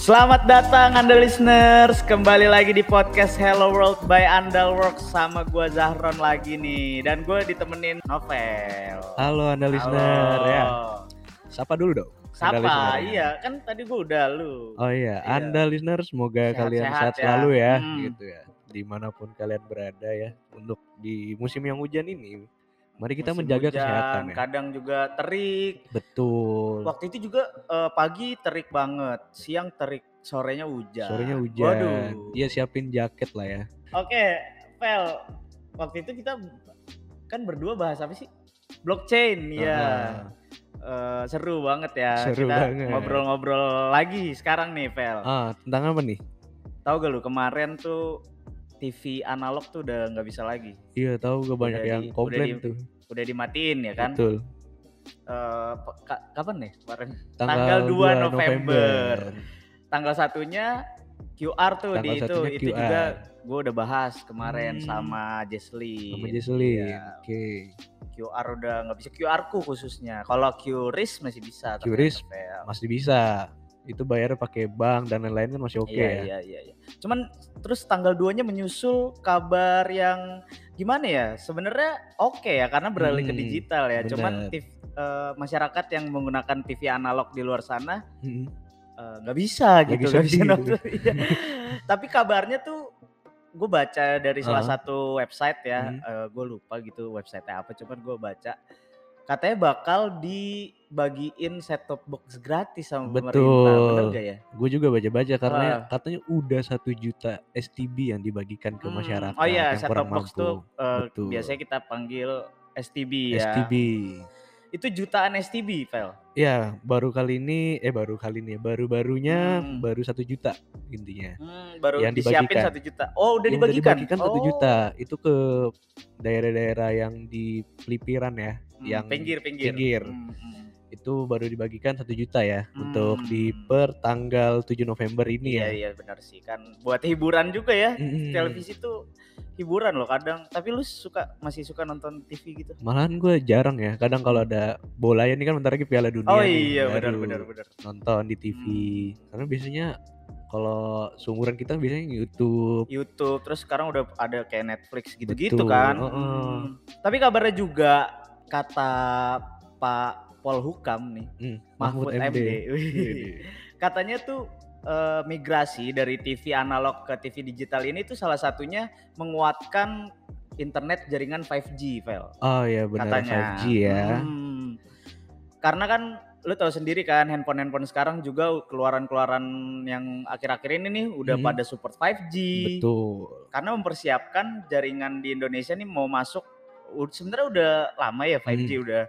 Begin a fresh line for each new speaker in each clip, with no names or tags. Selamat datang Anda listeners, kembali lagi di podcast Hello World by Andalworks sama gua Zahron lagi nih dan gue ditemenin Novel.
Halo Anda listener ya. Sapa dulu dong. Anda listener
Sapa,
ya.
iya kan tadi gue udah lu.
Oh iya,
Iya.
Anda listener semoga
Sehat-sehat
kalian sehat
ya.
selalu ya
Hmm.
gitu ya. Dimanapun kalian berada ya. Untuk di musim yang hujan ini mari kita
Musim
menjaga
hujan, kan.
kesehatan ya.
Kadang juga terik.
Betul.
Waktu itu juga eh, pagi terik banget, siang terik, sorenya hujan.
Sorenya hujan.
Waduh.
Iya siapin jaket lah ya.
Oke, Vel. Waktu itu kita kan berdua bahas apa sih? Blockchain, ya. Eh, seru banget ya.
Seru
kita
banget.
ngobrol-ngobrol lagi sekarang nih, Vel.
Ah, tentang apa nih?
Tahu gak lu kemarin tuh TV analog tuh udah nggak bisa lagi.
Iya, tahu gue banyak
Udah di-
yang
udah
komplain
di-
tuh.
Udah dimatiin ya kan?
Betul.
Eh, pe- ka- kapan nih kemarin?
Tanggal,
Tanggal
2
2
November.
Tanggal satunya QR tuh
Tanggal
di itu.
satunya
Itu
QR.
juga gue udah bahas kemarin
Hmm.
sama Jesli.
Sama Jesselyn.
Iya.
Oke.
QR udah nggak bisa QR ku khususnya. Kalau QRIS masih bisa. ternyata,
QRIS
Vel.
masih bisa itu bayar pakai bank dan lain-lain kan masih oke
iya,
ya
iya, iya, iya. Cuman terus tanggal 2-nya menyusul kabar yang gimana ya? Sebenarnya oke ya karena beralih ke
Hmm,
digital ya. Cuman
benar.
tif- eh, masyarakat yang menggunakan TV analog di luar sana
Mm-mm.
eh, nggak bisa
Nggak
gitu,
bisa
nggak bisa
gitu.
nonton. Iya. Tapi kabarnya tuh gue baca dari salah
Ah.
satu website ya,
Hmm.
gue lupa gitu websitenya apa, cuman gue baca katanya bakal dibagiin set top box gratis sama pemerintah, bener
Betul.
gak ya?
gue juga baca-baca karena katanya udah satu juta STB yang dibagikan ke
Hmm,
masyarakat
Oh iya,
yang
set
kurang
top box
mampu.
tuh eh,
Betul.
biasanya kita panggil STB ya.
STB
Itu jutaan STB, Fel.
ya baru kali ini eh baru kali ini ya, baru-barunya
Hmm.
baru satu juta intinya
Hmm, baru
Yang
disiapin
dibagikan.
satu juta. Oh, udah
Yang
dibagikan.
satu
Oh,
juta itu ke daerah-daerah yang di pelipiran ya
hmm,
yang
pinggir-pinggir.
pinggir.
Hmm, hmm.
itu baru dibagikan satu juta ya untuk
Hmm.
di per tanggal 7 November ini
Iya,
ya
iya benar sih kan. Buat hiburan juga ya.
Mm-mm.
Televisi tuh hiburan loh kadang. Tapi lu suka masih suka nonton TV gitu?
Malahan gue jarang ya. Kadang kalau ada bola ya ini kan bentar lagi Piala Dunia.
Oh
nih,
iya, benar
baru
benar benar.
Nonton di TV.
Hmm.
Karena biasanya kalau seumuran kita biasanya YouTube.
YouTube terus sekarang udah ada kayak Netflix gitu-gitu
Betul,
kan.
heeh.
Hmm. Tapi kabarnya juga kata Pak Polhukam nih,
Hmm,
Mahfud, Iya, MD. Wih,
Wih.
Katanya tuh eh, migrasi dari TV analog ke TV digital ini tuh salah satunya menguatkan internet jaringan 5G, Vel.
Oh iya benar
Katanya.
5G ya.
Hmm. Karena kan lu tahu sendiri kan handphone-handphone sekarang juga keluaran-keluaran yang akhir-akhir ini nih udah
Hmm.
pada support 5G
Betul.
karena mempersiapkan jaringan di Indonesia nih mau masuk u- sebenarnya udah lama ya 5G
Mm-hmm.
udah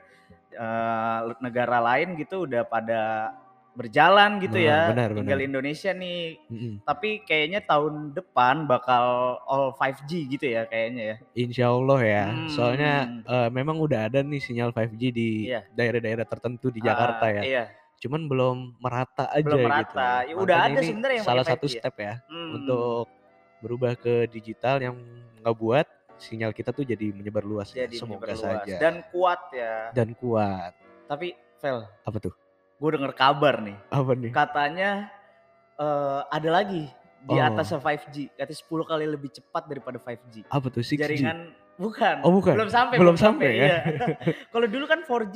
eh, negara lain gitu udah pada berjalan gitu
Nah,
ya
benar,
tinggal
benar.
Indonesia nih
Mm-mm.
tapi kayaknya tahun depan bakal all 5G gitu ya kayaknya ya
Insya Allah ya.
Hmm.
Soalnya eh, memang udah ada nih sinyal 5G di
Iya.
daerah-daerah tertentu di Jakarta
Ah,
ya.
iya
Cuman belum merata aja
Belum
gitu.
merata. Ya, udah
Makanya
ada
ini
sebenarnya yang
salah
pakai
satu
5G ya.
step ya.
Hmm.
untuk berubah ke digital yang ngebuat sinyal kita tuh jadi menyebar luas ya.
jadi
semoga
menyebar luas.
saja
dan kuat ya
Dan kuat
tapi Vel
apa tuh
gue denger kabar nih
apa nih
katanya eh, ada lagi di
Oh.
atas 5G katanya 10 kali lebih cepat daripada 5G
apa tuh 6G
jaringan bukan
Oh, bukan.
belum sampai
Belum sampai ya?
iya. kalau dulu kan 4G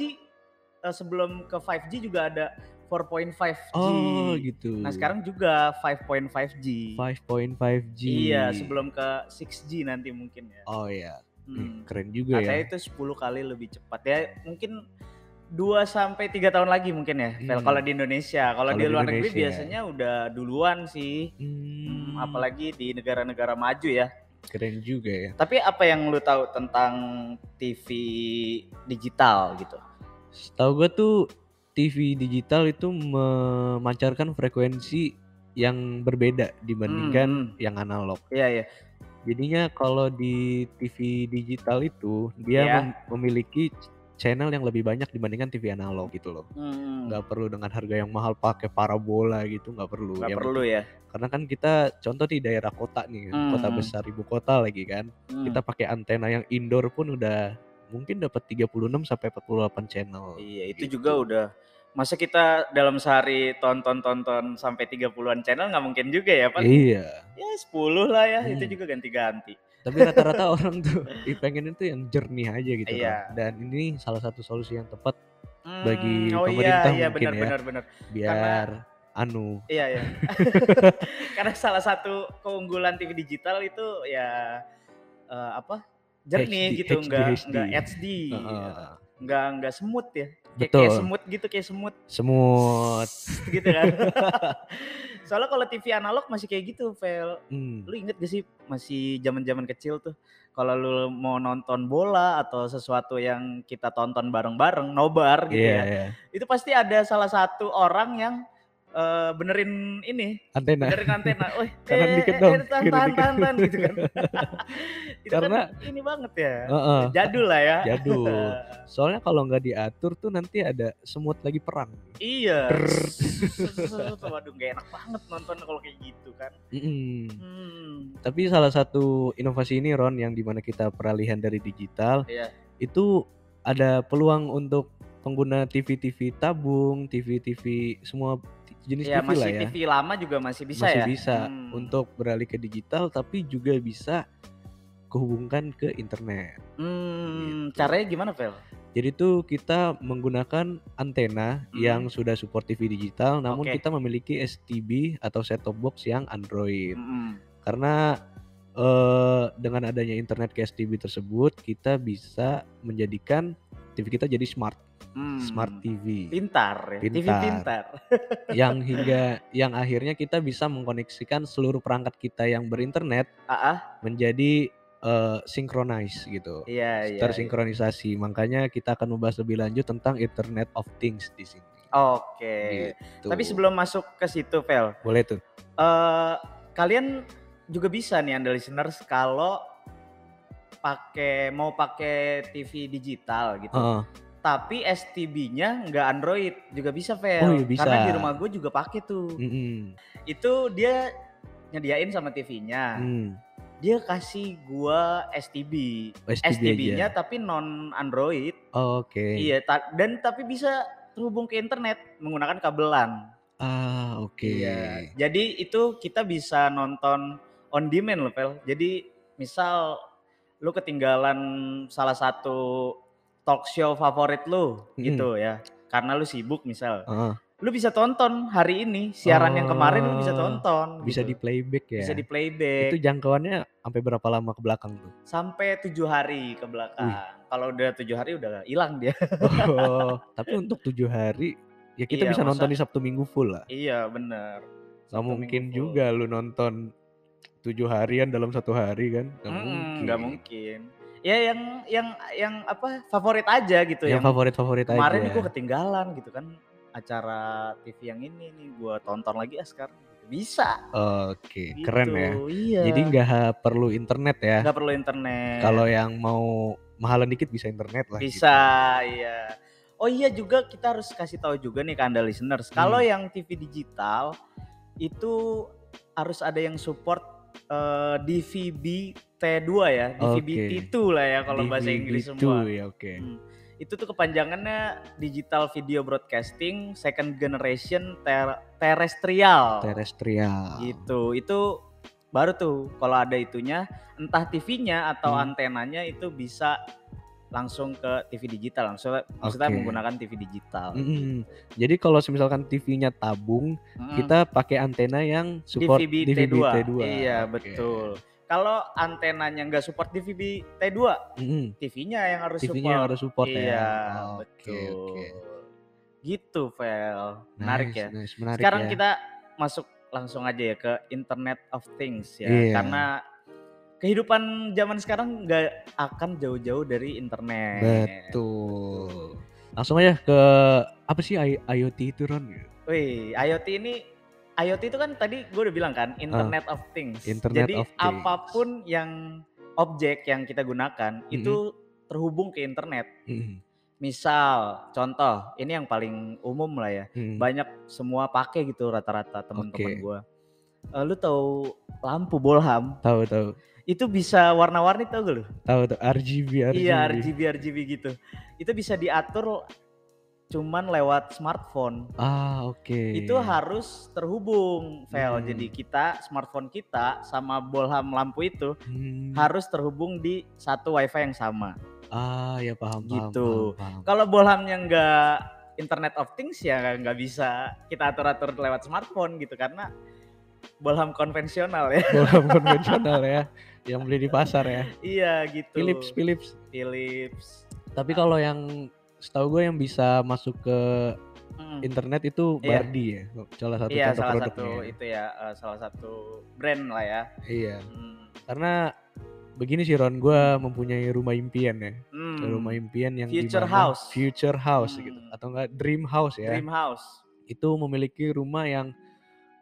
eh, sebelum ke 5G juga ada 4.5G
oh gitu
nah sekarang juga 5.5G
5.5G
iya sebelum ke 6G nanti mungkin ya
oh ya
Hmm.
keren juga
katanya
ya
itu 10 kali lebih cepat ya mungkin 2 sampai 3 tahun lagi mungkin ya Vel,
Hmm.
kalau di Indonesia kalau
Kalau
di
di
luar negeri
Indonesia.
biasanya udah duluan sih Hmm,
Hmm,
apalagi di negara-negara maju ya.
keren juga ya
Tapi apa yang lu tahu tentang TV digital gitu?
setahu gue tuh TV digital itu memancarkan frekuensi yang berbeda
Hmm,
dibandingkan yang analog
Iya iya.
Jadinya kalau di TV digital itu dia
Iya.
mem- memiliki channel yang lebih banyak dibandingkan TV analog gitu loh.
Hmm,
Nggak perlu dengan harga yang mahal pakai parabola gitu, nggak perlu.
nggak
Yang
perlu ya.
penting- Karena kan kita contoh di daerah kota nih,
Hmm.
kota besar ibu kota lagi kan.
Hmm.
Kita pakai antena yang indoor pun udah mungkin dapat 36 sampai 48 channel.
Iya, itu
gitu.
juga udah. Masa kita dalam sehari tonton-tonton sampai 30-an channel nggak mungkin juga ya, Pak?
Iya.
Ya 10 lah ya, itu
Hmm.
juga ganti-ganti.
Tapi rata-rata orang tuh i- pengen itu yang jernih aja gitu kan.
Iya.
Dan ini salah satu solusi yang tepat
Hmm,
Bagi
oh
pemerintah
iya, iya,
mungkin ya.
benar, benar, benar.
biar anu
Iya ya. Karena salah satu keunggulan TV digital itu ya eh, apa? jernih
HD,
gitu,
HD.
enggak enggak HD,
Heeh.
enggak enggak semut ya. Iya. Kayak-
Betul.
Kayak semut gitu, kayak semut
semut.
gitu kan. Soalnya kalau TV analog masih kayak gitu, Vel.
Hmm.
Lu inget gak sih masih zaman-zaman kecil tuh kalau lu mau nonton bola atau sesuatu yang kita tonton bareng-bareng, nobar gitu
Iya,
ya.
iya.
Itu pasti ada salah satu orang yang eh, benerin ini
Antena.
dari antena, woi,
Kanan dikit dong,
tahan,
kiri
tahan,
dikit."
tahan, tahan, gitu kan. itu
Karena-
kan ini banget ya.
Heeh.
Jadul lah ya.
Jadul. Soalnya kalau nggak diatur tuh nanti ada semut lagi perang.
iya.
Krrrr.
Waduh, gak enak banget nonton kalau kayak gitu kan.
Mm-mm.
Hmm.
Tapi salah satu inovasi ini Ron yang dimana kita peralihan dari digital
Iya.
itu ada peluang untuk pengguna TV-TV tabung, TV-TV semua t- jenis
Ya
TV
masih
lah ya.
TV lama juga masih bisa
masih
ya.
bisa
Hmm.
untuk beralih ke digital tapi juga bisa kehubungkan ke internet.
Hmm,
Gitu.
caranya gimana, Vel?
Jadi tuh kita menggunakan antena
Mhm.
yang sudah support TV digital namun
Oke.
kita memiliki STB atau set top box yang Android.
Mm-mm.
Karena eh, dengan adanya internet ke STB tersebut kita bisa menjadikan TV kita jadi smart,
Hmm.
smart TV
Pintar ya. TV
Pintar.
pintar.
yang hingga yang akhirnya kita bisa mengkoneksikan seluruh perangkat kita yang berinternet
Ah, ah,
menjadi eh, synchronize gitu.
iya iya. iya.
tersinkronisasi. Makanya kita akan membahas lebih lanjut tentang Internet of Things di sini.
Oke.
Gitu.
Tapi sebelum masuk ke situ, Vel,
boleh tuh.
eh kalian juga bisa nih anda listeners kalau pakai mau pakai TV digital gitu.
Heeh.
Tapi STB-nya nggak Android juga bisa, Vel.
Oh, iya, bisa. Hmm.
Karena di rumah gue juga pakai tuh.
Mm-mm.
Itu dia nyediain sama TV-nya.
Mm.
Dia kasih gua STB.
STB aja.
STB-nya tapi non Android.
Oke.
Iya, ta- dan tapi bisa terhubung ke internet menggunakan kabelan.
Ah, oke.
Iya. Jadi itu kita bisa nonton on demand loh, Pel. Jadi misal lu ketinggalan salah satu talk show favorit lu
Mm.
gitu ya. Karena lu sibuk misal.
Heeh.
Lu bisa tonton hari ini siaran yang kemarin lu bisa
Ah,
tonton
Bisa
gitu.
di playback ya.
bisa di playback
Itu jangkauannya sampai berapa lama ke belakang tuh?
sampai tujuh hari ke belakang. Kalau udah tujuh hari udah hilang dia.
Oh, tapi untuk tujuh hari ya kita
Iya,
bisa
masa-
nonton di Sabtu Minggu full lah.
iya, bener.
Gak
Sabtu
mungkin
Minggu full.
juga lu nonton tujuh harian dalam satu hari kan? Gak
Mm-mm,
mungkin.
nggak mungkin. Ya yang yang yang apa favorit aja gitu
Yang favorit-favorit aja.
kemarin gue ketinggalan gitu kan acara TV yang ini nih gue tonton lagi ah sekarang bisa
Oke,
gitu.
keren ya.
iya
Jadi nggak ha- perlu internet ya.
nggak perlu internet
Kalau yang mau mahalan dikit bisa internet lah. gitu.
bisa iya oh iya juga kita harus kasih tahu juga nih ke anda listeners kalau
Hmm.
yang TV digital itu harus ada yang support eh, DVB T2 ya DVB
Oke.
T2 lah
gitu.
ya kalau bahasa
DVD
Inggris
tuh
semua
ya oke.
Hmm. Itu tuh kepanjangannya Digital Video Broadcasting Second Generation Ter- Terrestrial.
Terestrial.
gitu. Itu baru tuh kalau ada itunya, entah TV-nya atau
Hmm.
antenanya itu bisa langsung ke TV digital, langsung maksudnya
Oke. Hmm.
menggunakan TV digital.
Mm-mm. Jadi kalau misalkan TV-nya tabung,
Mm-mm.
kita pakai antena yang support
DVB
DVB
T2.
T2.
Iya,
Oke.
betul. Kalau antenanya nggak support DVB T2,
Mm-mm.
TV-nya yang harus
TV-nya
support.
yang harus support
iya,
ya. Oke,
betul.
oke.
Gitu, Vel. Menarik
Nice,
ya.
nice, menarik
Sekarang
ya.
kita masuk langsung aja ya ke Internet of Things ya.
Iya.
Karena kehidupan zaman sekarang nggak akan jauh-jauh dari internet.
betul. Langsung aja ke apa sih I- IoT itu Ron?
Wih, IoT ini IoT itu kan tadi gue udah bilang kan Internet of Things.
Ah. Internet
Jadi
of Things.
apapun yang objek yang kita gunakan itu terhubung ke internet.
Mm-mm.
Misal contoh, ini yang paling umum lah ya.
Hmm.
Banyak semua pakai gitu rata-rata teman-teman
Oke.
gua. Eh, lu tahu lampu bolham
Tahu tahu.
itu bisa warna-warni tau gak lu?
Tahu tuh RGB RGB.
Iya RGB RGB gitu. Itu bisa diatur cuman lewat smartphone.
Ah, oke.
Itu harus terhubung, Vel.
Hmm.
Jadi kita smartphone kita sama bolham lampu itu
Hmm.
harus terhubung di satu wifi yang sama.
Ah, ya paham paham,
Gitu.
paham, paham.
Kalau bolhamnya nggak Internet of Things ya nggak bisa kita atur-atur lewat smartphone gitu karena bolham konvensional ya.
Bohlam konvensional ya, yang beli di pasar ya.
iya gitu.
Philips Philips.
Philips.
Tapi kalau yang setahu gue yang bisa masuk ke
Mm.
internet itu
Iya.
Bardi ya, salah satu
Iya
contoh
salah
produknya.
satu itu ya eh, salah satu brand lah ya.
Iya.
Hmm.
Karena begini sih Ron, gue mempunyai rumah impian ya,
Hmm.
rumah impian yang
Future
dimana-
house.
future house
Hmm.
gitu, atau enggak dream house ya.
Dream house.
Itu memiliki rumah yang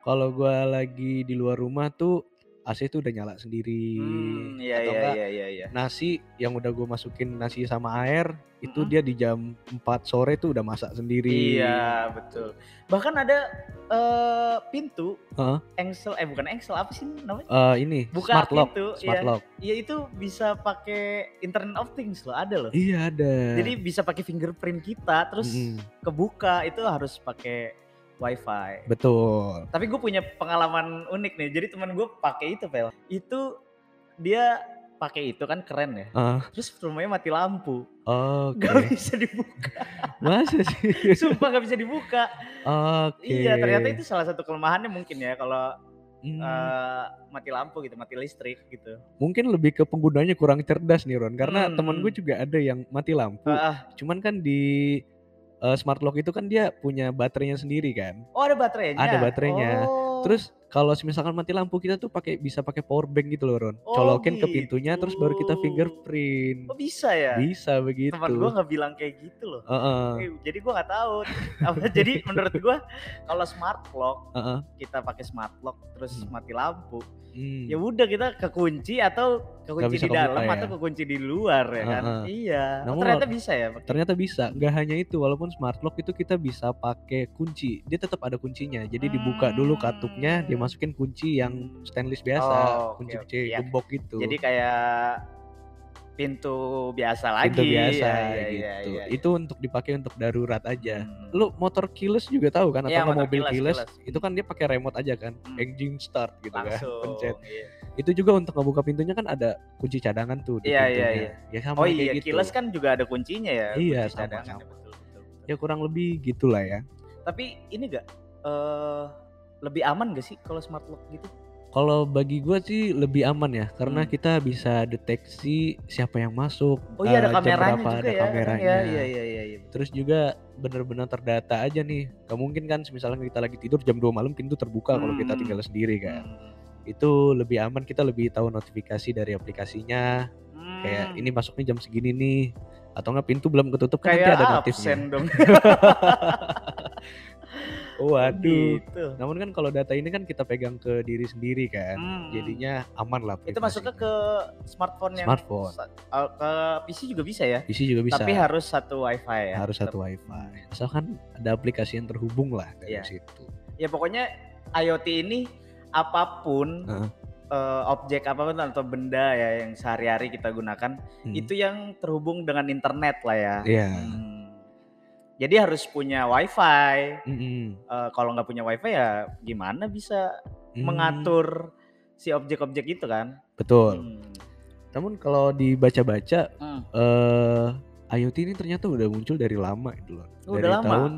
kalau gue lagi di luar rumah tuh AC tuh udah nyala sendiri,
Hmm, iya
atau
iya
enggak
iya iya iya.
nasi yang udah gue masukin nasi sama air itu
Mm-mm.
dia di jam 4 sore tuh udah masak sendiri.
Iya, betul. Bahkan ada eh, pintu
Heeh.
engsel eh bukan engsel apa sih namanya?
Eh, ini
Buka
smart lock,
pintu,
smart
iya.
lock.
Ya itu bisa pakai Internet of Things loh, ada loh.
Iya ada.
Jadi bisa pakai fingerprint kita terus
Mm-mm.
kebuka itu harus pakai wifi.
betul.
Tapi gue punya pengalaman unik nih. Jadi teman gue pakai itu, Pel. Itu dia pakai itu kan keren ya.
Ah.
Terus rumahnya mati lampu.
Oke.
Gak bisa dibuka.
Masa sih?
Sumpah gak bisa dibuka.
Oke.
Iya, ternyata itu salah satu kelemahannya mungkin ya kalau
Hmm,
eh, mati lampu gitu, mati listrik gitu.
mungkin lebih ke penggunanya kurang cerdas nih Ron, karena
Hmm,
temen gue
hmm.
juga ada yang mati lampu.
Ah, ah.
Cuman kan di eh, smart lock itu kan dia punya baterainya sendiri kan.
Oh, ada baterainya.
Ada baterainya.
Oh.
Terus kalau misalkan mati lampu kita tuh pakai bisa pakai power bank gitu loh Ron.
Oh,
Colokin ke pintunya terus baru kita
gitu.
fingerprint.
oh, bisa ya?
Bisa begitu.
Teman gue nggak bilang kayak gitu loh.
gitu. Heeh,
Eh, Jadi gue nggak tahu. Apa- Jadi menurut gue kalau smart lock
heeh.
kita pakai smart lock terus
Hmm.
mati lampu,
Hmm.
ya udah kita kekunci atau kekunci
bisa
di dalam
kebuka ya.
atau kekunci di luar ya kan?
Ah, ah.
Iya. Oh,
Namun
ternyata
wal-
bisa ya. pakai-
Ternyata bisa. Nggak hanya itu, walaupun smart lock itu kita bisa pakai kunci. Dia tetap ada kuncinya. Jadi dibuka dulu
Hmm.
katupnya, dimasukin kunci yang stainless
Oh,
biasa,
oke,
kunci-kunci
oke, ya.
gembok gitu.
Jadi kayak pintu biasa lagi.
Pintu
Ya,
biasa
ya,
gitu.
ya, ya, ya.
Itu untuk dipakai untuk darurat aja.
Hmm.
Lu motor keyless juga tahu kan atau
Iya,
nggak
motor
mobil
keyless,
keyless,
keyless.
itu kan dia pakai remote aja kan.
Hmm.
Engine start gitu
langsung.
kan, pencet.
iya.
Itu juga untuk ngebuka pintunya kan ada kunci cadangan tuh di
Iya, iya,
pintunya. Ya sama
Oh
kayak
iya,
gitu.
kilas kan juga ada kuncinya ya.
Iya,
kunci
sama,
cadangan,
sama.
betul, betul, betul.
Ya kurang lebih gitulah ya.
Tapi ini gak eh lebih aman gak sih kalau smart lock gitu?
Kalau bagi gua sih lebih aman ya, karena
Hmm.
kita bisa deteksi siapa yang masuk.
Oh iya
eh,
ada
jam
kameranya
berapa
juga
ada
ya.
kameranya.
Iya iya iya iya. iya.
Terus juga benar-benar terdata aja nih. Gak mungkin kan misalnya kita lagi tidur jam 2 malam pintu terbuka kalau kita
Hmm.
tinggal sendiri kan.
Hmm.
Itu lebih aman kita lebih tahu notifikasi dari aplikasinya
Hmm.
kayak ini masuknya jam segini nih atau nggak pintu belum ketutup kan nanti
kayak
ada
absen
notifnya.
dong.
Waduh.
Gitu.
Namun kan kalau data ini kan kita pegang ke diri sendiri kan.
Hmm.
Jadinya aman lah.
itu masuknya
privasinya.
ke smartphone yang
Smartphone.
sa- eh, ke PC juga bisa ya?
PC juga bisa.
Tapi harus satu wifi ya.
harus
tetap.
satu wifi asalkan ada aplikasi yang terhubung lah dari
Iya.
situ
Ya pokoknya IoT ini apapun
Heeh.
eh, objek apapun atau benda ya yang sehari-hari kita gunakan
Hmm.
itu yang terhubung dengan internet lah ya.
iya
Hmm. Jadi harus punya wifi.
Mm-mm.
Eh, kalau nggak punya wifi ya gimana bisa
Hmm,
mengatur si objek-objek itu kan?
betul
Hmm.
namun kalau dibaca-baca
Hmm.
eh IoT ini ternyata udah muncul dari lama itu loh
Oh, Udah
dari
lama.
tahun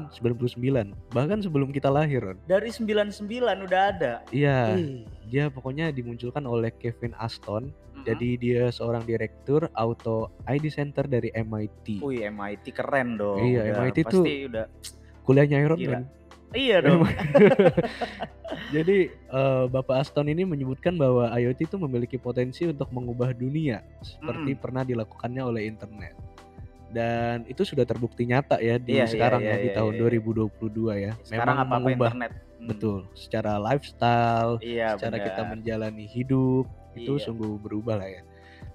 99 bahkan sebelum kita lahir Ron.
Dari 99 udah ada.
iya
Ih.
dia pokoknya dimunculkan oleh Kevin Aston
Mhm.
jadi dia seorang direktur auto ID center dari MIT
Wih MIT keren dong.
Iya,
udah,
MIT
pasti udah.
kuliahnya Iron
Gila.
Man
Iya dong.
Jadi eh, Bapak Aston ini menyebutkan bahwa IoT itu memiliki potensi untuk mengubah dunia seperti
Mm.
pernah dilakukannya oleh internet. Dan itu sudah terbukti nyata ya di
Iya, iya,
sekarang
iya,
ya di
iya,
tahun
iya.
2022 ya.
Sekarang
Memang
apa-apa
mengubah
internet. Hmm.
betul secara lifestyle,
Iya,
secara kita
benar.
menjalani hidup itu
Iya.
sungguh berubah lah ya.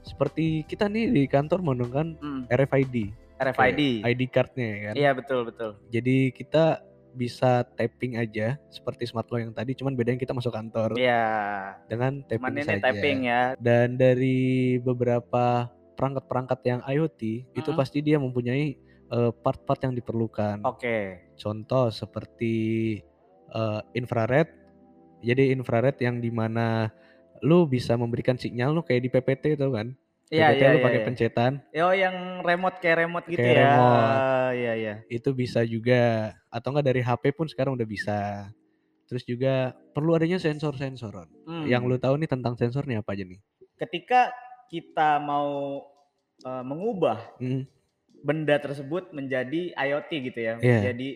Seperti kita nih di kantor menggunakan
Hmm.
RFID.
RFID.
ID cardnya ya kan.
Iya betul betul.
Jadi kita bisa tapping aja seperti smart lock yang tadi, cuman bedanya kita masuk kantor
Iya.
dengan tapping
Cuman ini
saja.
tapping ya.
Dan dari beberapa perangkat-perangkat yang IoT itu
Mm.
pasti dia mempunyai eh, part-part yang diperlukan.
Oh. Oke.
Contoh seperti eh, infrared. Jadi infrared yang dimana lu bisa memberikan sinyal lu kayak di PPT itu kan.
Iya
PPT
iya
lu
iya,
pakai
iya.
pencetan
Oh yang remote kayak remote gitu
Kayak
ya.
remote.
Ah, Iya iya.
itu bisa juga atau enggak dari HP pun sekarang udah bisa. Terus juga perlu adanya sensor-sensoran.
Hmm.
Yang lu tahu nih tentang sensornya apa aja nih?
ketika kita mau eh, mengubah
Hmm,
benda tersebut menjadi IoT gitu ya,
Iya.
menjadi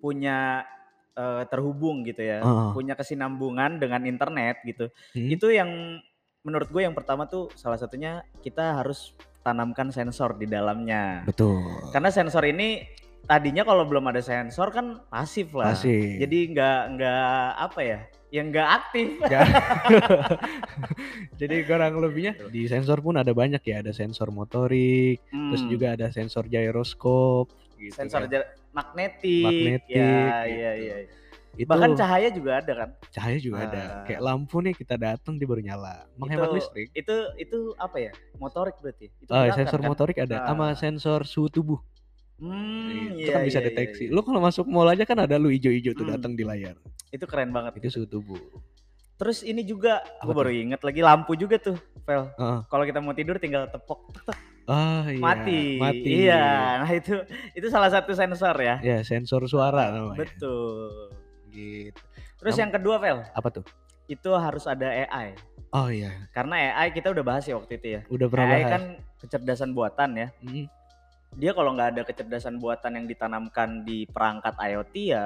punya eh, terhubung gitu ya,
Heeh.
punya kesinambungan dengan internet gitu.
Hmm.
Itu yang menurut gue yang pertama tuh salah satunya kita harus tanamkan sensor di dalamnya.
Betul.
Karena sensor ini tadinya kalau belum ada sensor kan pasif lah.
Masih.
Jadi nggak nggak apa ya? Yang nggak aktif.
Jadi kurang lebihnya
Betul.
di sensor pun ada banyak ya, ada sensor motorik, terus
Hmm.
juga ada sensor gyroskop gitu
sensor
kan.
jar- magnetik,
Magnetik,
ya,
gitu.
ya, ya.
Itu
bahkan cahaya juga ada kan
cahaya juga ada.
Ah.
Kayak lampu nih kita datang dia baru nyala. Menghemat
Itu-
listrik.
itu itu apa ya motorik berarti itu
Ah,
gerakan
sensor
kan?
motorik ada
Ah.
sama sensor suhu tubuh.
Hmm,
itu
iya,
kan
iya,
bisa
iya,
deteksi.
iya.
Lu kalau masuk mall aja kan ada lu ijo-ijo tuh
Hmm.
datang di layar.
itu keren banget
Itu suhu tubuh.
terus ini juga gue
Apa tuh?
baru inget lagi lampu juga tuh Vel
Heeh.
kalau kita mau tidur tinggal tepok tek, tek,
Ah iya.
mati.
Mati.
iya nah itu itu salah satu sensor ya
Ya sensor suara namanya.
betul
Gitu.
terus
Nam-
yang kedua Vel
Apa tuh?
itu harus ada AI
Oh iya,
karena AI kita udah bahas ya waktu itu ya
udah pernah
AI
bahas.
kan kecerdasan buatan ya
Mm.
dia kalau nggak ada kecerdasan buatan yang ditanamkan di perangkat IoT ya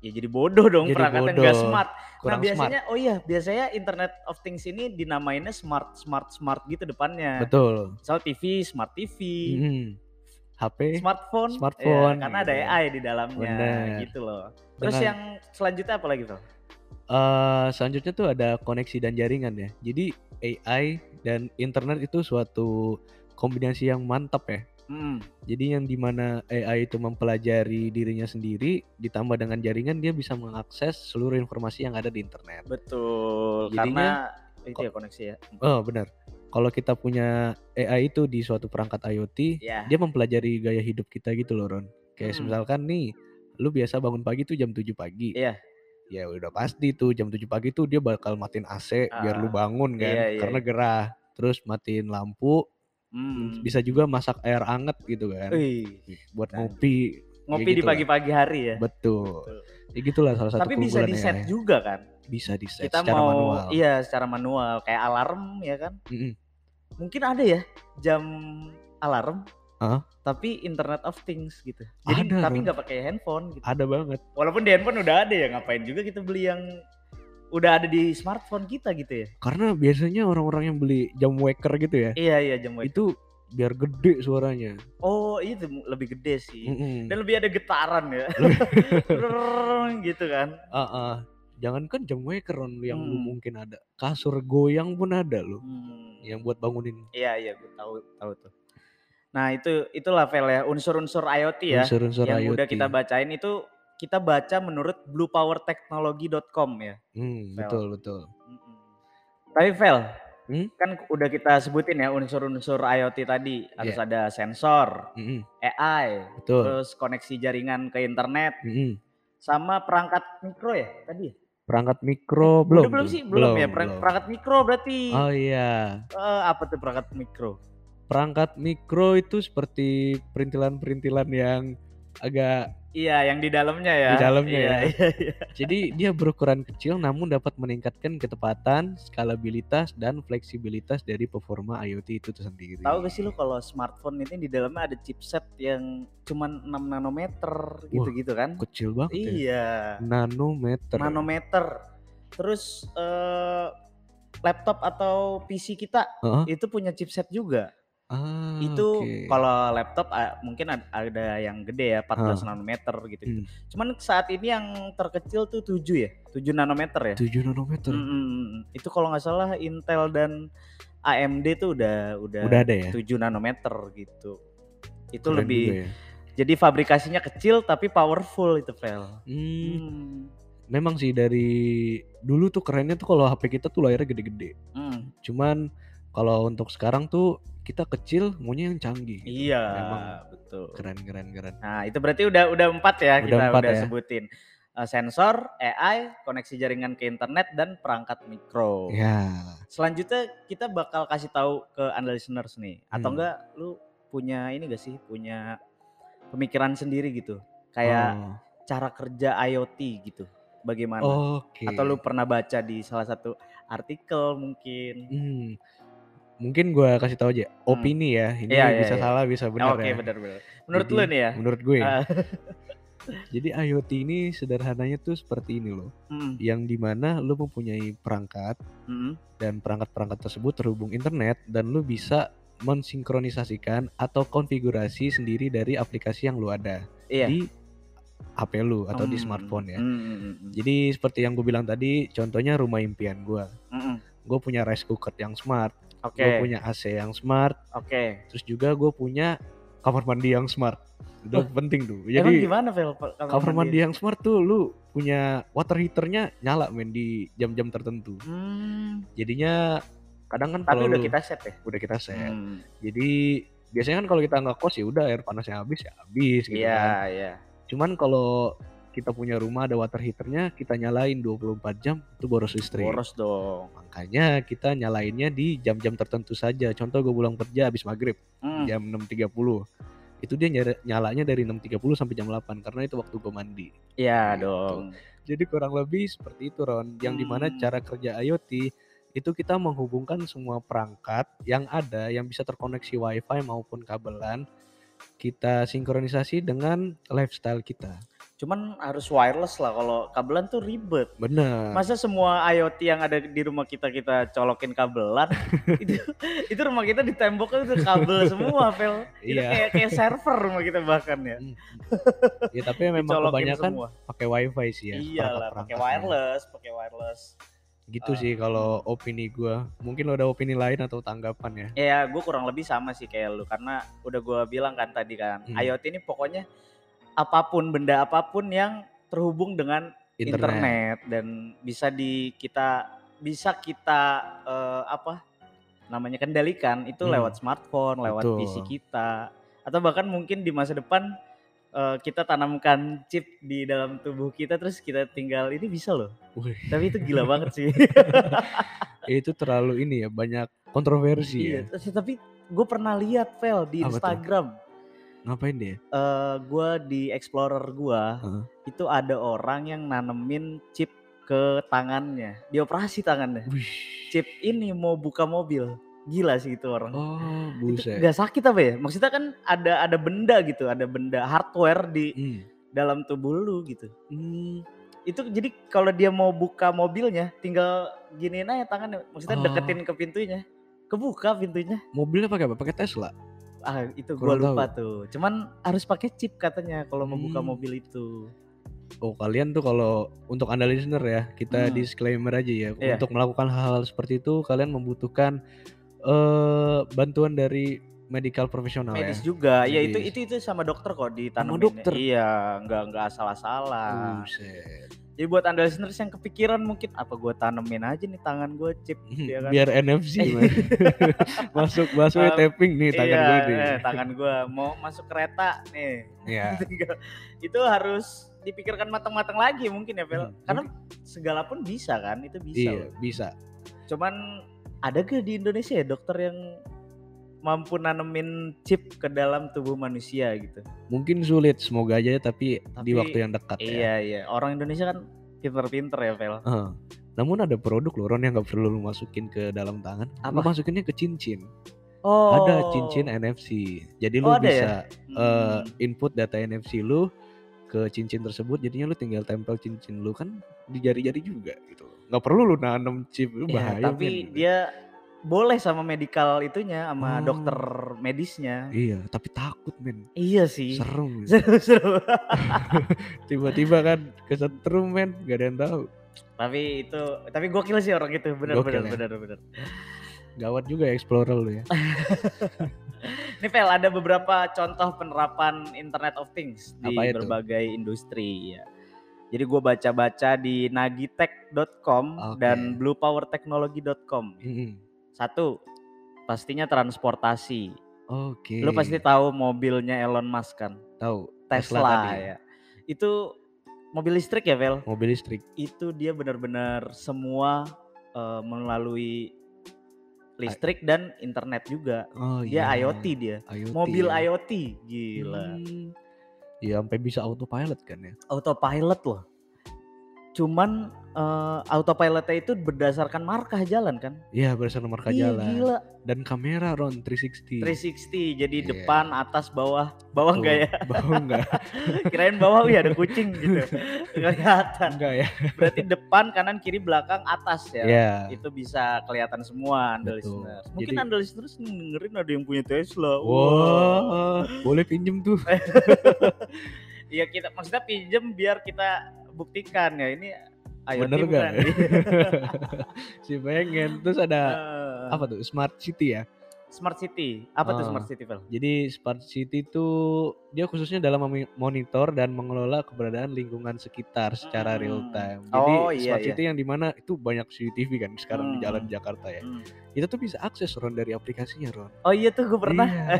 ya jadi bodoh dong
Jadi
perangkatnya nggak
bodoh,
smart. nah
Kurang smart.
biasanya oh iya biasanya Internet of Things ini dinamainnya smart smart smart gitu depannya.
Betul.
Misal TV, smart TV,
Mm. HP.
smartphone, ya,
Smartphone,
karena ada
gitu.
AI di dalamnya
Bener.
gitu loh. Terus
Benar.
yang selanjutnya apa lagi tuh?
Eh, selanjutnya tuh ada koneksi dan jaringan ya. Jadi AI dan internet itu suatu kombinasi yang mantap ya.
Hmm,
Jadi yang dimana AI itu mempelajari dirinya sendiri, ditambah dengan jaringan dia bisa mengakses seluruh informasi yang ada di internet.
betul.
Jadinya-
karena itu ya koneksi ya.
Oh benar. Kalau kita punya AI itu di suatu perangkat IoT,
Ya.
dia mempelajari gaya hidup kita gitu loh Ron. Kayak
Mm.
misalkan nih, lu biasa bangun pagi tuh jam 7 pagi.
Iya.
Ya udah pasti tuh jam 7 pagi tuh dia bakal matiin AC biar lu bangun kan,
Iya, iya,
karena gerah. Terus matiin lampu,
Hmm.
bisa juga masak air anget gitu kan,
Wih,
buat
kan.
ngopi.
ngopi
Kayak
di
gitu lah.
pagi-pagi hari ya.
Betul. Ya gitulah salah satu
Tapi bisa
keunggulan
di set
AI.
juga kan?
Bisa di set
kita
secara
mau
manual.
iya secara manual kayak alarm ya kan
Mm-mm.
mungkin ada ya jam alarm
Hah?
tapi internet of things gitu jadi
Ada,
tapi
Ron.
nggak pakai handphone gitu
Ada banget.
walaupun di handphone udah ada ya ngapain juga kita beli yang udah ada di smartphone kita gitu ya
Karena biasanya orang-orang yang beli jam waker gitu ya,
iya iya jam wake.
itu biar gede suaranya.
oh itu lebih gede sih Iya.
Mm-mm.
dan lebih ada getaran ya Rrrrrrrrrrrrrrrrrrrrrrrrrrrrrrrrrr gitu kan
Ah, ah. jangan kan jam waker Ron, yang lu
Hmm.
mungkin ada kasur goyang pun ada loh
Hmm.
yang buat bangunin
iya iya gue tahu tahu tuh nah itu itulah Vel ya unsur-unsur IoT ya
unsur-unsur
yang
IoT.
udah kita bacain itu kita baca menurut bluepowertechnology.com ya. Hmm.
Hmm, betul betul.
Tapi Vel,
Hmm?
kan udah kita sebutin ya unsur-unsur IoT tadi harus
Iya.
ada sensor,
Mm-mm,
AI,
betul.
terus koneksi jaringan ke internet,
Mm-mm.
sama perangkat mikro ya tadi. ya?
Perangkat mikro
Eh, Udah
belum?
belum
tuh?
sih belum, ya perang-
belum.
perangkat mikro berarti
Oh iya,
Eh, apa tuh perangkat mikro?
perangkat mikro itu seperti perintilan-perintilan yang agak
Iya yang di dalamnya ya.
Di dalamnya
Iya,
ya.
iya, iya.
Jadi dia berukuran kecil namun dapat meningkatkan ketepatan, skalabilitas dan fleksibilitas dari performa IoT itu sendiri.
Tahu gak sih lu kalau smartphone ini di dalamnya ada chipset yang cuman 6 nanometer gitu-gitu kan?
Kecil banget ya.
Iya.
Nanometer.
Manometer. Terus eh, laptop atau PC kita
Heeh.
itu punya chipset juga.
Ah,
itu
oke.
kalau laptop ah, mungkin ad- ada yang gede ya 14 nanometer gitu.
Hmm.
Cuman saat ini yang terkecil tuh 7 ya, 7 nanometer ya.
7 nanometer.
Mm, mm, mm. Itu kalau nggak salah Intel dan AMD tuh udah udah,
Udah ada ya.
7 nanometer gitu. Itu
Keren
lebih
juga ya.
jadi fabrikasinya kecil tapi powerful itu Fel.
Hmm,
Hmm.
memang sih dari dulu tuh kerennya tuh kalau HP kita tuh layarnya gede-gede.
Hmm.
Cuman kalau untuk sekarang tuh kita kecil maunya yang canggih.
Iya,
Memang
betul.
Keren keren keren.
Nah, itu berarti udah udah empat ya
Udah
kita
empat
udah
ya.
sebutin. Eh, sensor, AI, koneksi jaringan ke internet dan perangkat mikro.
Ya,
Selanjutnya kita bakal kasih tahu ke anda listeners nih atau
Hmm.
enggak lu punya ini gak sih punya pemikiran sendiri gitu kayak
oh,
cara kerja IoT gitu bagaimana
Oke.
atau lu pernah baca di salah satu artikel mungkin
Hmm, mungkin gua kasih tahu aja opini ya. Ini
Hmm. Iya, iya,
bisa
iya.
salah bisa benar
oke
ya.
benar benar menurut
Jadi,
lu nih ya
Menurut gue.
Ah.
Jadi IoT ini sederhananya tuh seperti ini loh.
Mm,
Yang dimana lu mempunyai perangkat
mm,
dan perangkat-perangkat tersebut terhubung internet dan lu bisa mensinkronisasikan atau konfigurasi sendiri dari aplikasi yang lu ada
iya
di HP lu atau di
Mm,
smartphone ya.
mm, mm, mm,
Jadi seperti yang gue bilang tadi, contohnya rumah impian gue.
mm, mm.
Gue punya rice cooker yang smart,
oke
gue punya AC yang smart,
oke
terus juga gue punya kamar mandi yang smart. Itu
Wah,
penting tuh.
Oh. emang
Ya, Jadi
gimana Vel pa-
kamar mandi yang smart tuh lu punya water heaternya nyala men di jam-jam tertentu.
Hmm,
Jadinya kadang kan
tapi
kalau
udah
lu-
kita set ya
udah kita set.
Hmm,
Jadi biasanya kan kalau kita nggak kos ya udah air panasnya habis ya habis gitu
iya
kan.
iya
Cuman kalau kita punya rumah ada water heaternya kita nyalain 24 jam itu boros listrik.
boros dong
Makanya kita nyalainnya di jam-jam tertentu saja. Contoh gue pulang kerja habis maghrib
Mm,
jam 6.30. Itu dia nyala- nyalanya dari 6.30 sampai jam 8 karena itu waktu gue mandi.
iya
gitu.
dong
Jadi kurang lebih seperti itu Ron. Yang dimana
Hmm.
cara kerja IoT itu kita menghubungkan semua perangkat yang ada yang bisa terkoneksi WiFi maupun kabelan kita sinkronisasi dengan lifestyle kita.
Cuman harus wireless lah kalau kabelan tuh ribet.
Bener.
Masa semua IoT yang ada di rumah kita kita colokin kabelan? itu itu rumah kita di temboknya udah kabel semua, Fel. Itu
Iya.
kayak kayak server rumah kita bahkan ya.
Hmm. ya tapi memang
Dicolokin
kebanyakan
semua.
pakai WiFi sih ya.
Iyalah, pakai
perangkat-perangkatnya.
wireless, pakai wireless.
Gitu
Ah.
sih kalau opini gua. Mungkin lo ada opini lain atau tanggapan ya?
Ya, gue kurang lebih sama sih kayak lu karena udah gue bilang kan tadi kan,
Hmm.
IoT ini pokoknya apapun benda apapun yang terhubung dengan internet. dan bisa di kita bisa kita eh, apa namanya kendalikan itu
Hmm.
lewat smartphone, lewat
Betul.
PC kita atau bahkan mungkin di masa depan eh, kita tanamkan chip di dalam tubuh kita terus kita tinggal ini bisa loh.
Wih.
Tapi itu gila banget sih.
Itu terlalu ini ya banyak kontroversi
Iya,
ya.
terus- tapi gue pernah lihat Vel di
Apa tuh?
Instagram.
Ngapain deh?
Eh, gue di Explorer gue
Heeh.
itu ada orang yang nanemin chip ke tangannya, dioperasi tangannya.
Wih.
chip ini mau buka mobil gila sih itu orang
Oh,
itu
buset.
nggak sakit apa ya maksudnya kan ada ada benda gitu ada benda hardware di
Hmm.
dalam tubuh lu gitu
Hmm.
itu jadi kalau dia mau buka mobilnya tinggal giniin aja tangannya maksudnya
Oh.
deketin ke pintunya kebuka pintunya
Mobilnya pakai apa? Pakai Tesla.
ah itu gua
Kurang
lupa tuh cuman harus pakai chip katanya kalau mau buka
Hmm.
mobil itu
Oh, kalian tuh kalau untuk Anda listener ya, kita
Hmm.
disclaimer aja ya.
Iya.
Untuk melakukan hal-hal seperti itu kalian membutuhkan eh bantuan dari medical profesional
medis
ya.
juga ya itu
Medis.
itu itu sama dokter kok ditanamin
dokter?
iya nggak nggak asal-asalan
Buset.
Jadi buat anda listeners yang kepikiran mungkin apa gue tanemin aja nih tangan gue chip Iya kan?
Biar NFC man. masuk masuk
Um,
tapping nih tangan
iya,
gue nih.
eh, tangan gue mau masuk kereta nih.
Iya.
Tinggal- itu harus dipikirkan matang-matang lagi mungkin ya, Vel.
Hmm,
Karena segala pun bisa kan, itu bisa.
Iya,
loh.
bisa.
Cuman ada gak di Indonesia ya dokter yang mampu nanemin chip ke dalam tubuh manusia gitu?
Mungkin sulit semoga aja tapi, di
Tapi,
waktu yang dekat ya.
Iya iya, orang Indonesia kan pinter-pinter ya, Vel.
Heeh. Namun ada produk loh Ron yang nggak perlu lu masukin ke dalam tangan. Lu
Apa?
masukinnya ke cincin.
Oh.
ada cincin NFC. Jadi lu
Oh, ada ya?
bisa
Hmm.
eh, input data NFC lu ke cincin tersebut, jadinya lu tinggal tempel cincin lu kan di jari-jari juga gitu. Nggak perlu lu nanam chip, lu
Ya,
bahaya.
tapi
men.
dia boleh sama medical itunya sama
Oh.
dokter medisnya.
Iya, tapi takut men,
Iya sih.
serem. men.
Seru seru.
Tiba-tiba kan kesetrum men, gak ada yang tahu.
tapi itu tapi gokil sih orang itu benar benar
Gokil ya.
benar benar.
Gawat juga ya Explorer lu ya.
Ini Vel ada beberapa contoh penerapan Internet of Things di
Apa itu?
berbagai industri ya. Jadi gue baca-baca di nagitech.com
Oke.
dan bluepowertechnology.com.
Mm-mm.
Satu, pastinya transportasi.
Oke.
Lu pasti tahu mobilnya Elon Musk kan,
tahu
Tesla,
tadi.
ya. Itu mobil listrik ya, Vel?
Mobil listrik.
Itu dia benar-benar semua eh, melalui listrik dan internet juga.
Oh
Dia
iya.
IoT dia.
IoT.
Mobil
ya.
IoT, gila.
Hmm. Ya sampai bisa autopilot kan ya.
autopilot loh. Cuman eh, autopilotnya itu berdasarkan markah jalan kan?
Iya berdasarkan marka
Iya,
jalan
gila.
dan kamera Ron 360.
360 jadi
Iya.
depan, atas, bawah. Bawah
Tuh,
enggak ya?
Bawah enggak?
Kirain bawah ya ada kucing gitu. Nggak kelihatan.
enggak ya.
Berarti depan, kanan, kiri, belakang, atas ya.
Iya.
Itu bisa kelihatan semua Anda
Betul.
listeners. Mungkin
Jadi-
Anda listeners dengerin ada yang punya Tesla. Wah.
Wah, boleh pinjem tuh.
Iya kita maksudnya pinjem biar kita buktikan ya ini IoT
Bener nggak?
bukan?
si pengen. Terus ada
Eh,
apa tuh? Smart City ya.
Smart City. Apa tuh
Iya. Ah.
Smart City, Vel?
Jadi Smart City itu dia khususnya dalam memi- monitor dan mengelola keberadaan lingkungan sekitar secara
Hmm.
real time. Jadi
Oh, iya,
Smart
iya.
City yang dimana itu banyak CCTV kan sekarang di jalan
Hmm.
Jakarta ya.
Hmm.
Itu tuh bisa akses Ron dari aplikasinya Ron.
Oh iya tuh gue pernah.
Iya.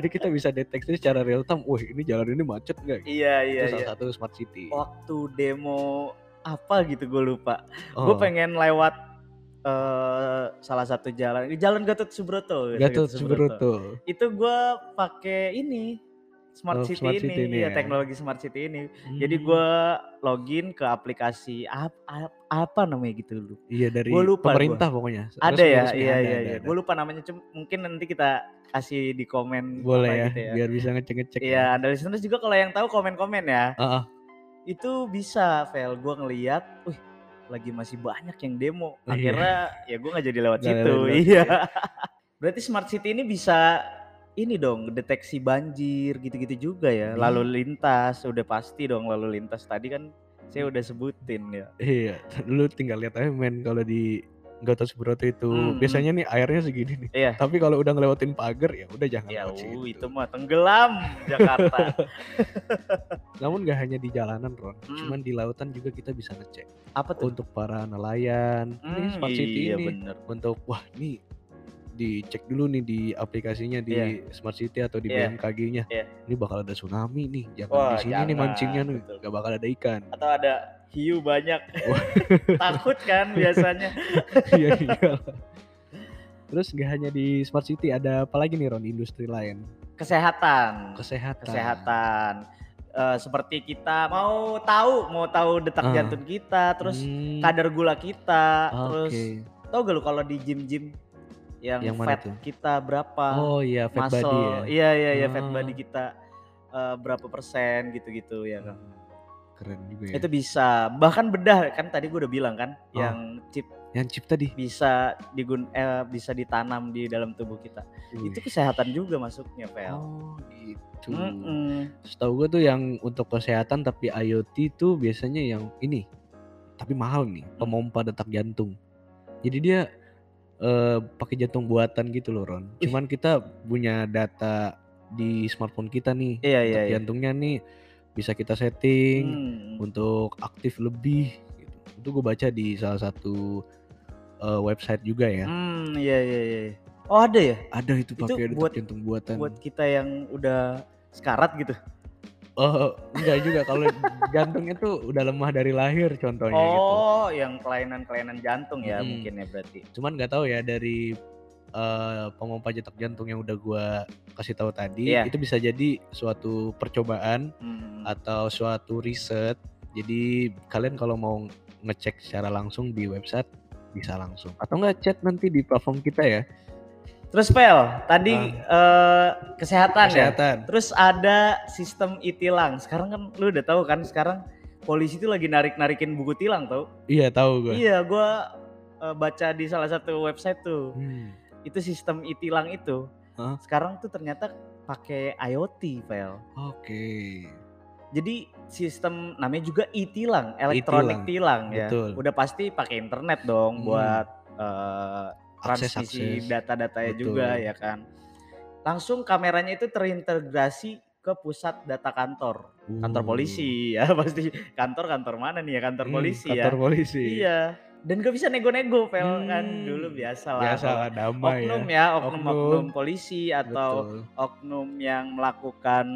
Jadi kita bisa deteksi secara real time, wah ini jalan ini macet nggak? gitu.
Iya iya
itu
iya.
salah satu smart city.
Waktu demo apa gitu gue lupa.
Oh,
Gue pengen lewat eh salah satu jalan, Jalan Gatot Subroto. gitu,
Gatot Subroto.
Itu gue pakai ini Smart
Oh,
City ini,
Smart City ini
ya,
ya.
teknologi Smart City ini. Hmm. Jadi gue
Hmm.
login ke aplikasi ap- ap- apa namanya gitu lu.
iya dari
gua lupa
pemerintah pokoknya.
Ada
Resmi-
ya,
resmi
iya
ada,
iya
ada,
iya.
ada.
Gue lupa namanya, cum- mungkin nanti kita kasih di komen
Boleh
apa
ya,
gitu ya.
biar bisa ngecek-ngecek.
Iya, ada listeners juga kalau yang tahu komen-komen ya.
Heeh.
itu bisa fail gue ngeliat wih lagi masih banyak yang demo
Iya.
akhirnya ya gue nggak jadi lewat
Nggak
situ
lewat
iya berarti smart city ini bisa ini dong deteksi banjir gitu-gitu juga ya
Iya.
lalu lintas udah pasti dong lalu lintas tadi kan saya udah sebutin ya
Iya, lu tinggal lihat aja men kalau di Gatot Subroto itu
Hmm,
biasanya nih airnya segini nih.
Iya.
Tapi kalau udah ngelewatin pagar ya udah jangan
ya
lewat
wuh,
situ.
itu mah tenggelam Jakarta
Namun nggak hanya di jalanan Ron,
Hmm.
cuman di lautan juga kita bisa ngecek
apa tuh
untuk para nelayan.
Hmm,
ini smart city
iya
ini
bener
untuk wah nih dicek dulu nih di aplikasinya di
Iya.
Smart City atau di
Iya.
BMKG-nya.
Iya.
Ini bakal ada tsunami nih. Jangan
Wah,
di sini nih
jangan,
mancingnya nih.
betul.
Gak bakal ada ikan.
atau ada hiu banyak takut kan biasanya
Iya iya. Terus nggak hanya di Smart City ada apa lagi nih Ron di industri lain?
kesehatan
Kesehatan.
kesehatan Eh, seperti kita mau tahu mau tahu detak
Ah.
jantung kita terus
Hmm,
kadar gula kita
oke.
terus tau gak lu kalau di gym gym yang,
Yang mana
fat
tuh?
kita berapa
Oh iya fat
eh, muscle
body ya.
iya iya iya fat
Ah.
body kita eh, berapa persen gitu gitu ya kan
Keren juga ya.
itu bisa bahkan bedah kan tadi gue udah bilang kan
Ah.
yang chip
Yang chip tadi.
bisa digun eh, bisa ditanam di dalam tubuh kita itu kesehatan juga masuknya pel
Oh gitu.
Mm-mm.
Setahu gue tuh yang untuk kesehatan tapi IoT tuh biasanya yang ini. Tapi mahal nih, pemompa detak jantung. Jadi dia eh, pakai jantung buatan gitu loh Ron.
Ih.
Cuman kita punya data di smartphone kita nih.
Iya,
detak
iya, iya.
jantungnya nih bisa kita setting
Mm.
untuk aktif lebih gitu. Itu gue baca di salah satu eh, website juga ya.
Hmm, iya iya iya. Oh ada ya
Ada itu
Itu
pakai detak
buat-
jantung buatan.
buat kita yang udah sekarat gitu.
Oh, enggak juga kalau jantungnya tuh udah lemah dari lahir contohnya gitu. Hmm.
Oh, yang kelainan-kelainan jantung ya
Mm-mm.
mungkin ya berarti.
Cuman nggak tahu ya dari eh, pemompa detak jantung yang udah gua kasih tahu tadi
Iya.
itu bisa jadi suatu percobaan
Hmm.
atau suatu riset. Jadi kalian kalau mau ngecek secara langsung di website bisa langsung atau enggak chat nanti di platform kita ya
Terus Pel, tadi eh, kesehatan, ya.
Ah. kesehatan.
Terus ada sistem itilang. Sekarang kan lu udah tahu kan sekarang polisi itu lagi narik-narikin buku tilang tau?
Iya tahu gua.
Iya, gua eh, baca di salah satu website tuh.
Hmm.
Itu sistem itilang itu.
Hah?
Sekarang tuh ternyata pakai IoT, Pel.
Oke.
Jadi sistem namanya juga e-tilang, elektronik tilang ya.
betul.
Udah pasti pakai internet dong
Hmm.
buat eh,
Akses,
transmisi
akses.
data-datanya
Betul.
juga ya kan. Langsung kameranya itu terintegrasi ke pusat data kantor, kantor
Uh.
polisi ya pasti kantor kantor mana nih ya kantor
Hmm,
polisi ya.
kantor polisi
Iya. Dan gak bisa nego-nego, Pel kan
Hmm.
dulu biasa lah.
biasa
kalau
lah damai
Oknum ya, oknum-oknum
Oknum.
polisi atau
Betul.
oknum yang melakukan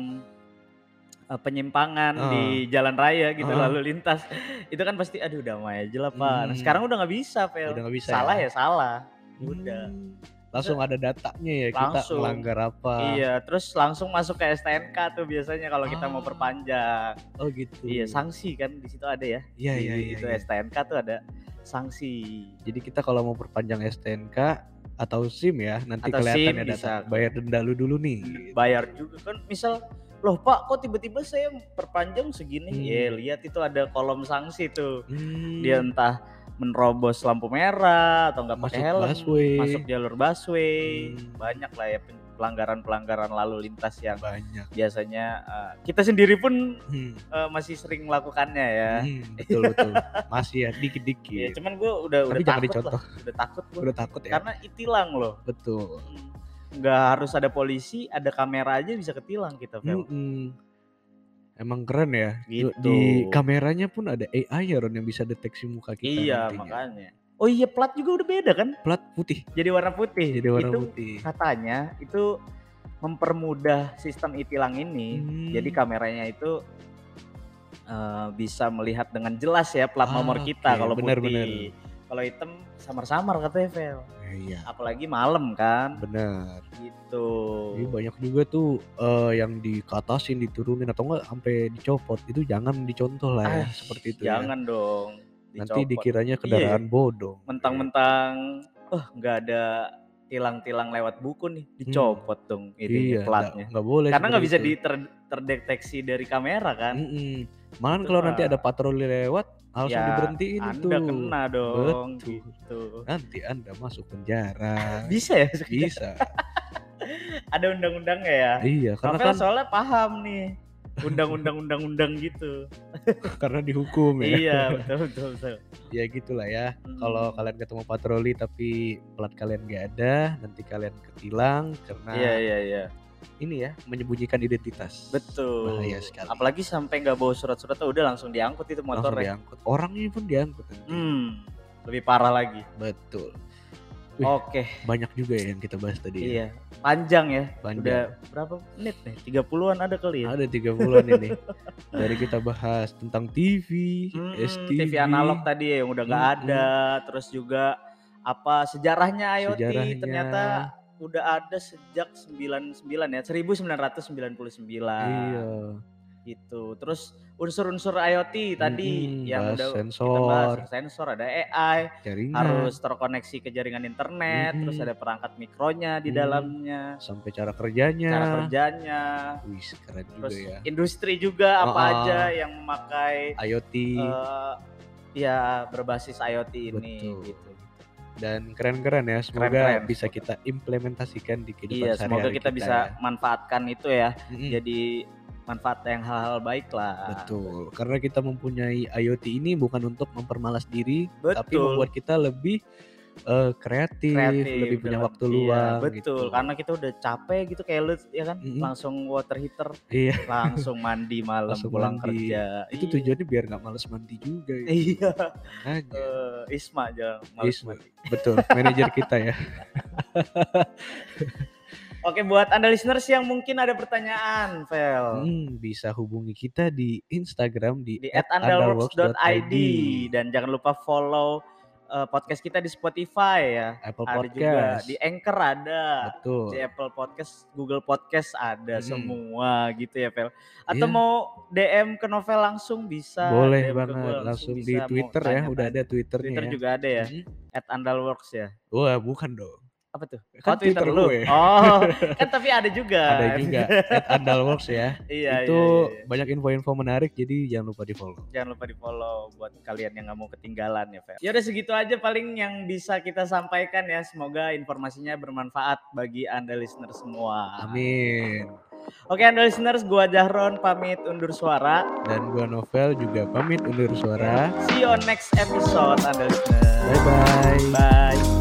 eh, penyimpangan
Ah.
di jalan raya gitu
Ah.
lalu lintas itu kan pasti aduh damai aja lah pak Nah,
Hmm.
sekarang udah nggak bisa Pel
Udah nggak bisa
salah ya,
ya?
salah udah
Hmm. langsung ada datanya ya kita
Langsung.
melanggar apa
iya terus langsung masuk ke STNK tuh biasanya kalau kita mau
Ah.
perpanjang
oh gitu
iya sanksi kan di situ ada ya
iya
Di-
iya
di
iya,
itu
iya.
STNK tuh ada sanksi
jadi kita kalau mau perpanjang STNK atau SIM ya nanti
Atau
kelihatan
SIM
ya data
bisa.
bayar denda lu dulu nih
bayar juga kan misal loh pak kok tiba-tiba saya perpanjang segini
Hmm.
ya lihat itu ada kolom sanksi tuh
Hmm,
dia entah menerobos lampu merah atau nggak pakai
Masuk
helm
busway.
masuk jalur busway
Hmm.
banyak lah ya pen- pelanggaran-pelanggaran lalu lintas yang
banyak
biasanya eh, kita sendiri pun
Hmm,
eh, masih sering melakukannya ya.
hmm, betul betul masih ya dikit
Ya,
dikit
cuman gue udah
Tapi
udah
jangan
takut
dicontoh.
lah, udah takut gue
udah takut ya
karena itilang loh.
betul
Nggak harus ada polisi, ada kamera aja bisa ketilang kita, Fel.
Mm-mm. Hmm, emang keren ya
Gitu.
Du- di kameranya pun ada AI ya Ron yang bisa deteksi muka kita
iya,
nantinya.
makanya. Oh iya, plat juga udah beda kan?
plat putih
Jadi warna putih.
jadi warna
itu kan
putih
katanya itu mempermudah sistem itilang ini.
Hmm.
Jadi kameranya itu eh, bisa melihat dengan jelas ya plat
Ah,
nomor kita
oke,
kalau
bener,
putih.
bener.
Kalau hitam samar-samar katanya, Fel.
Nah, iya
apalagi malam kan
benar
gitu
jadi Iya, banyak juga tuh eh, yang dikatasin diturunin atau enggak sampai dicopot itu jangan dicontoh lah ya
Ah,
seperti itu ya.
jangan dong dicopot.
nanti
Iya.
dikiranya kendaraan bodong
mentang-mentang oh nggak ada tilang-tilang lewat buku nih dicopot dong ini
Hmm. iya
platnya
nggak- nggak boleh
karena nggak
seperti
bisa
itu.
diter- terdeteksi dari kamera kan
Mm-mm. Malahan
Itu
kalau nanti
mah-
ada patroli lewat langsung
Ya,
diberhentiin itu
anda kena dong
Betul.
gitu
nanti anda masuk penjara
bisa ya
bisa
ada undang-undangnya ya
iya karena
Rafael
kan
soalnya paham nih undang-undang undang-undang gitu
karena dihukum ya
iya betul betul, Hmm. betul.
ya gitulah ya kalau kalian ketemu patroli tapi plat kalian gak ada nanti kalian ketilang karena
iya iya iya
ini ya menyembunyikan identitas
Betul.
bahaya sekali
Apalagi sampai nggak bawa surat-suratnya udah langsung diangkut itu
langsung
motornya.
diangkut orangnya pun diangkut nanti.
ya. Hmm, lebih parah lagi.
betul Wih.
Oke,
banyak juga ya yang kita bahas tadi ya.
iya. Panjang ya. Udah
panjang
berapa menit nih? 30-an ada kali ya.
ada tiga bulan ini dari kita bahas tentang TV
Mm-mm,
STV
TV Hmm, analog tadi ya yang udah nggak
Mm-mm.
ada, terus juga apa sejarahnya IoT
hmm. Sejarahnya.
ternyata udah ada sejak 99 ya, 1999.
iya
gitu. Terus unsur-unsur IoT tadi
Mm-mm,
yang
Hmm, bahas
udah kita
sensor. Iya.
bahas sensor ada AI,
jaringan
harus terkoneksi ke jaringan internet,
Mhm.
terus ada perangkat mikronya di
Mhm.
dalamnya,
sampai cara kerjanya
cara kerjanya,
Wih, keren Ya. juga
terus
ya
industri juga apa
Ah, ah.
aja yang memakai
IoT
eh, ya berbasis IoT ini
Betul.
gitu.
dan keren-keren ya semoga
Keren-keren,
bisa
semoga.
kita implementasikan di kehidupan
Iya,
sehari-hari
semoga kita bisa
ya. Hmm.
manfaatkan itu ya.
Mm-mm.
Jadi manfaat yang hal-hal baik lah.
Betul, karena kita mempunyai IoT ini bukan untuk mempermalas diri, tapi
Betul.
membuat kita lebih eh, kreatif, lebih punya
dalam-
waktu
iya,
luang.
betul
gitu.
karena kita udah capek gitu kayak lu ya kan
Mhm.
langsung water heater
Iya.
langsung mandi malam
Langsung
pulang
mandi.
kerja
itu
Iya.
tujuannya biar nggak malas mandi juga. ya.
Iya,
Makanya.
eh, Isma aja males
Isma.
mandi.
Betul, manajer kita ya.
Oke, buat Anda listeners yang mungkin ada pertanyaan, Vel.
Hmm, bisa hubungi kita di Instagram di,
Di
@underworks.id,
@andalworks.id dan jangan lupa follow eh, podcast kita di Spotify ya.
Apple
Ada
Podcast.
juga di Anchor ada.
Betul.
Di Apple Podcast, Google Podcast ada
Hmm.
semua gitu ya, Vel. Atau
Iya.
mau DM ke Novel langsung bisa. DM ke
Boleh banget
gua
langsung, di
bisa, mau
Twitter ya, udah
tanya-tanya.
ada Twitternya.
Twitter
ya.
juga ada ya,
Hmm.
@andalworks ya.
Wah, bukan dong.
Apa tuh? Oh,
Kan
Twitter,
Twitter
lu. Ah.
gue.
Oh, kan tapi ada juga.
Ada juga at @andalworks ya.
iya,
itu
iya, iya.
banyak info-info menarik jadi jangan lupa di follow
jangan lupa di follow buat kalian yang nggak mau ketinggalan ya Fer. Yaudah segitu aja paling yang bisa kita sampaikan ya. Semoga informasinya bermanfaat bagi anda listener semua.
amin
Ah. Oke anda listeners, gua Jahron pamit undur suara.
dan gua novel juga pamit undur suara
See you on next episode anda listeners.
bye bye
Bye.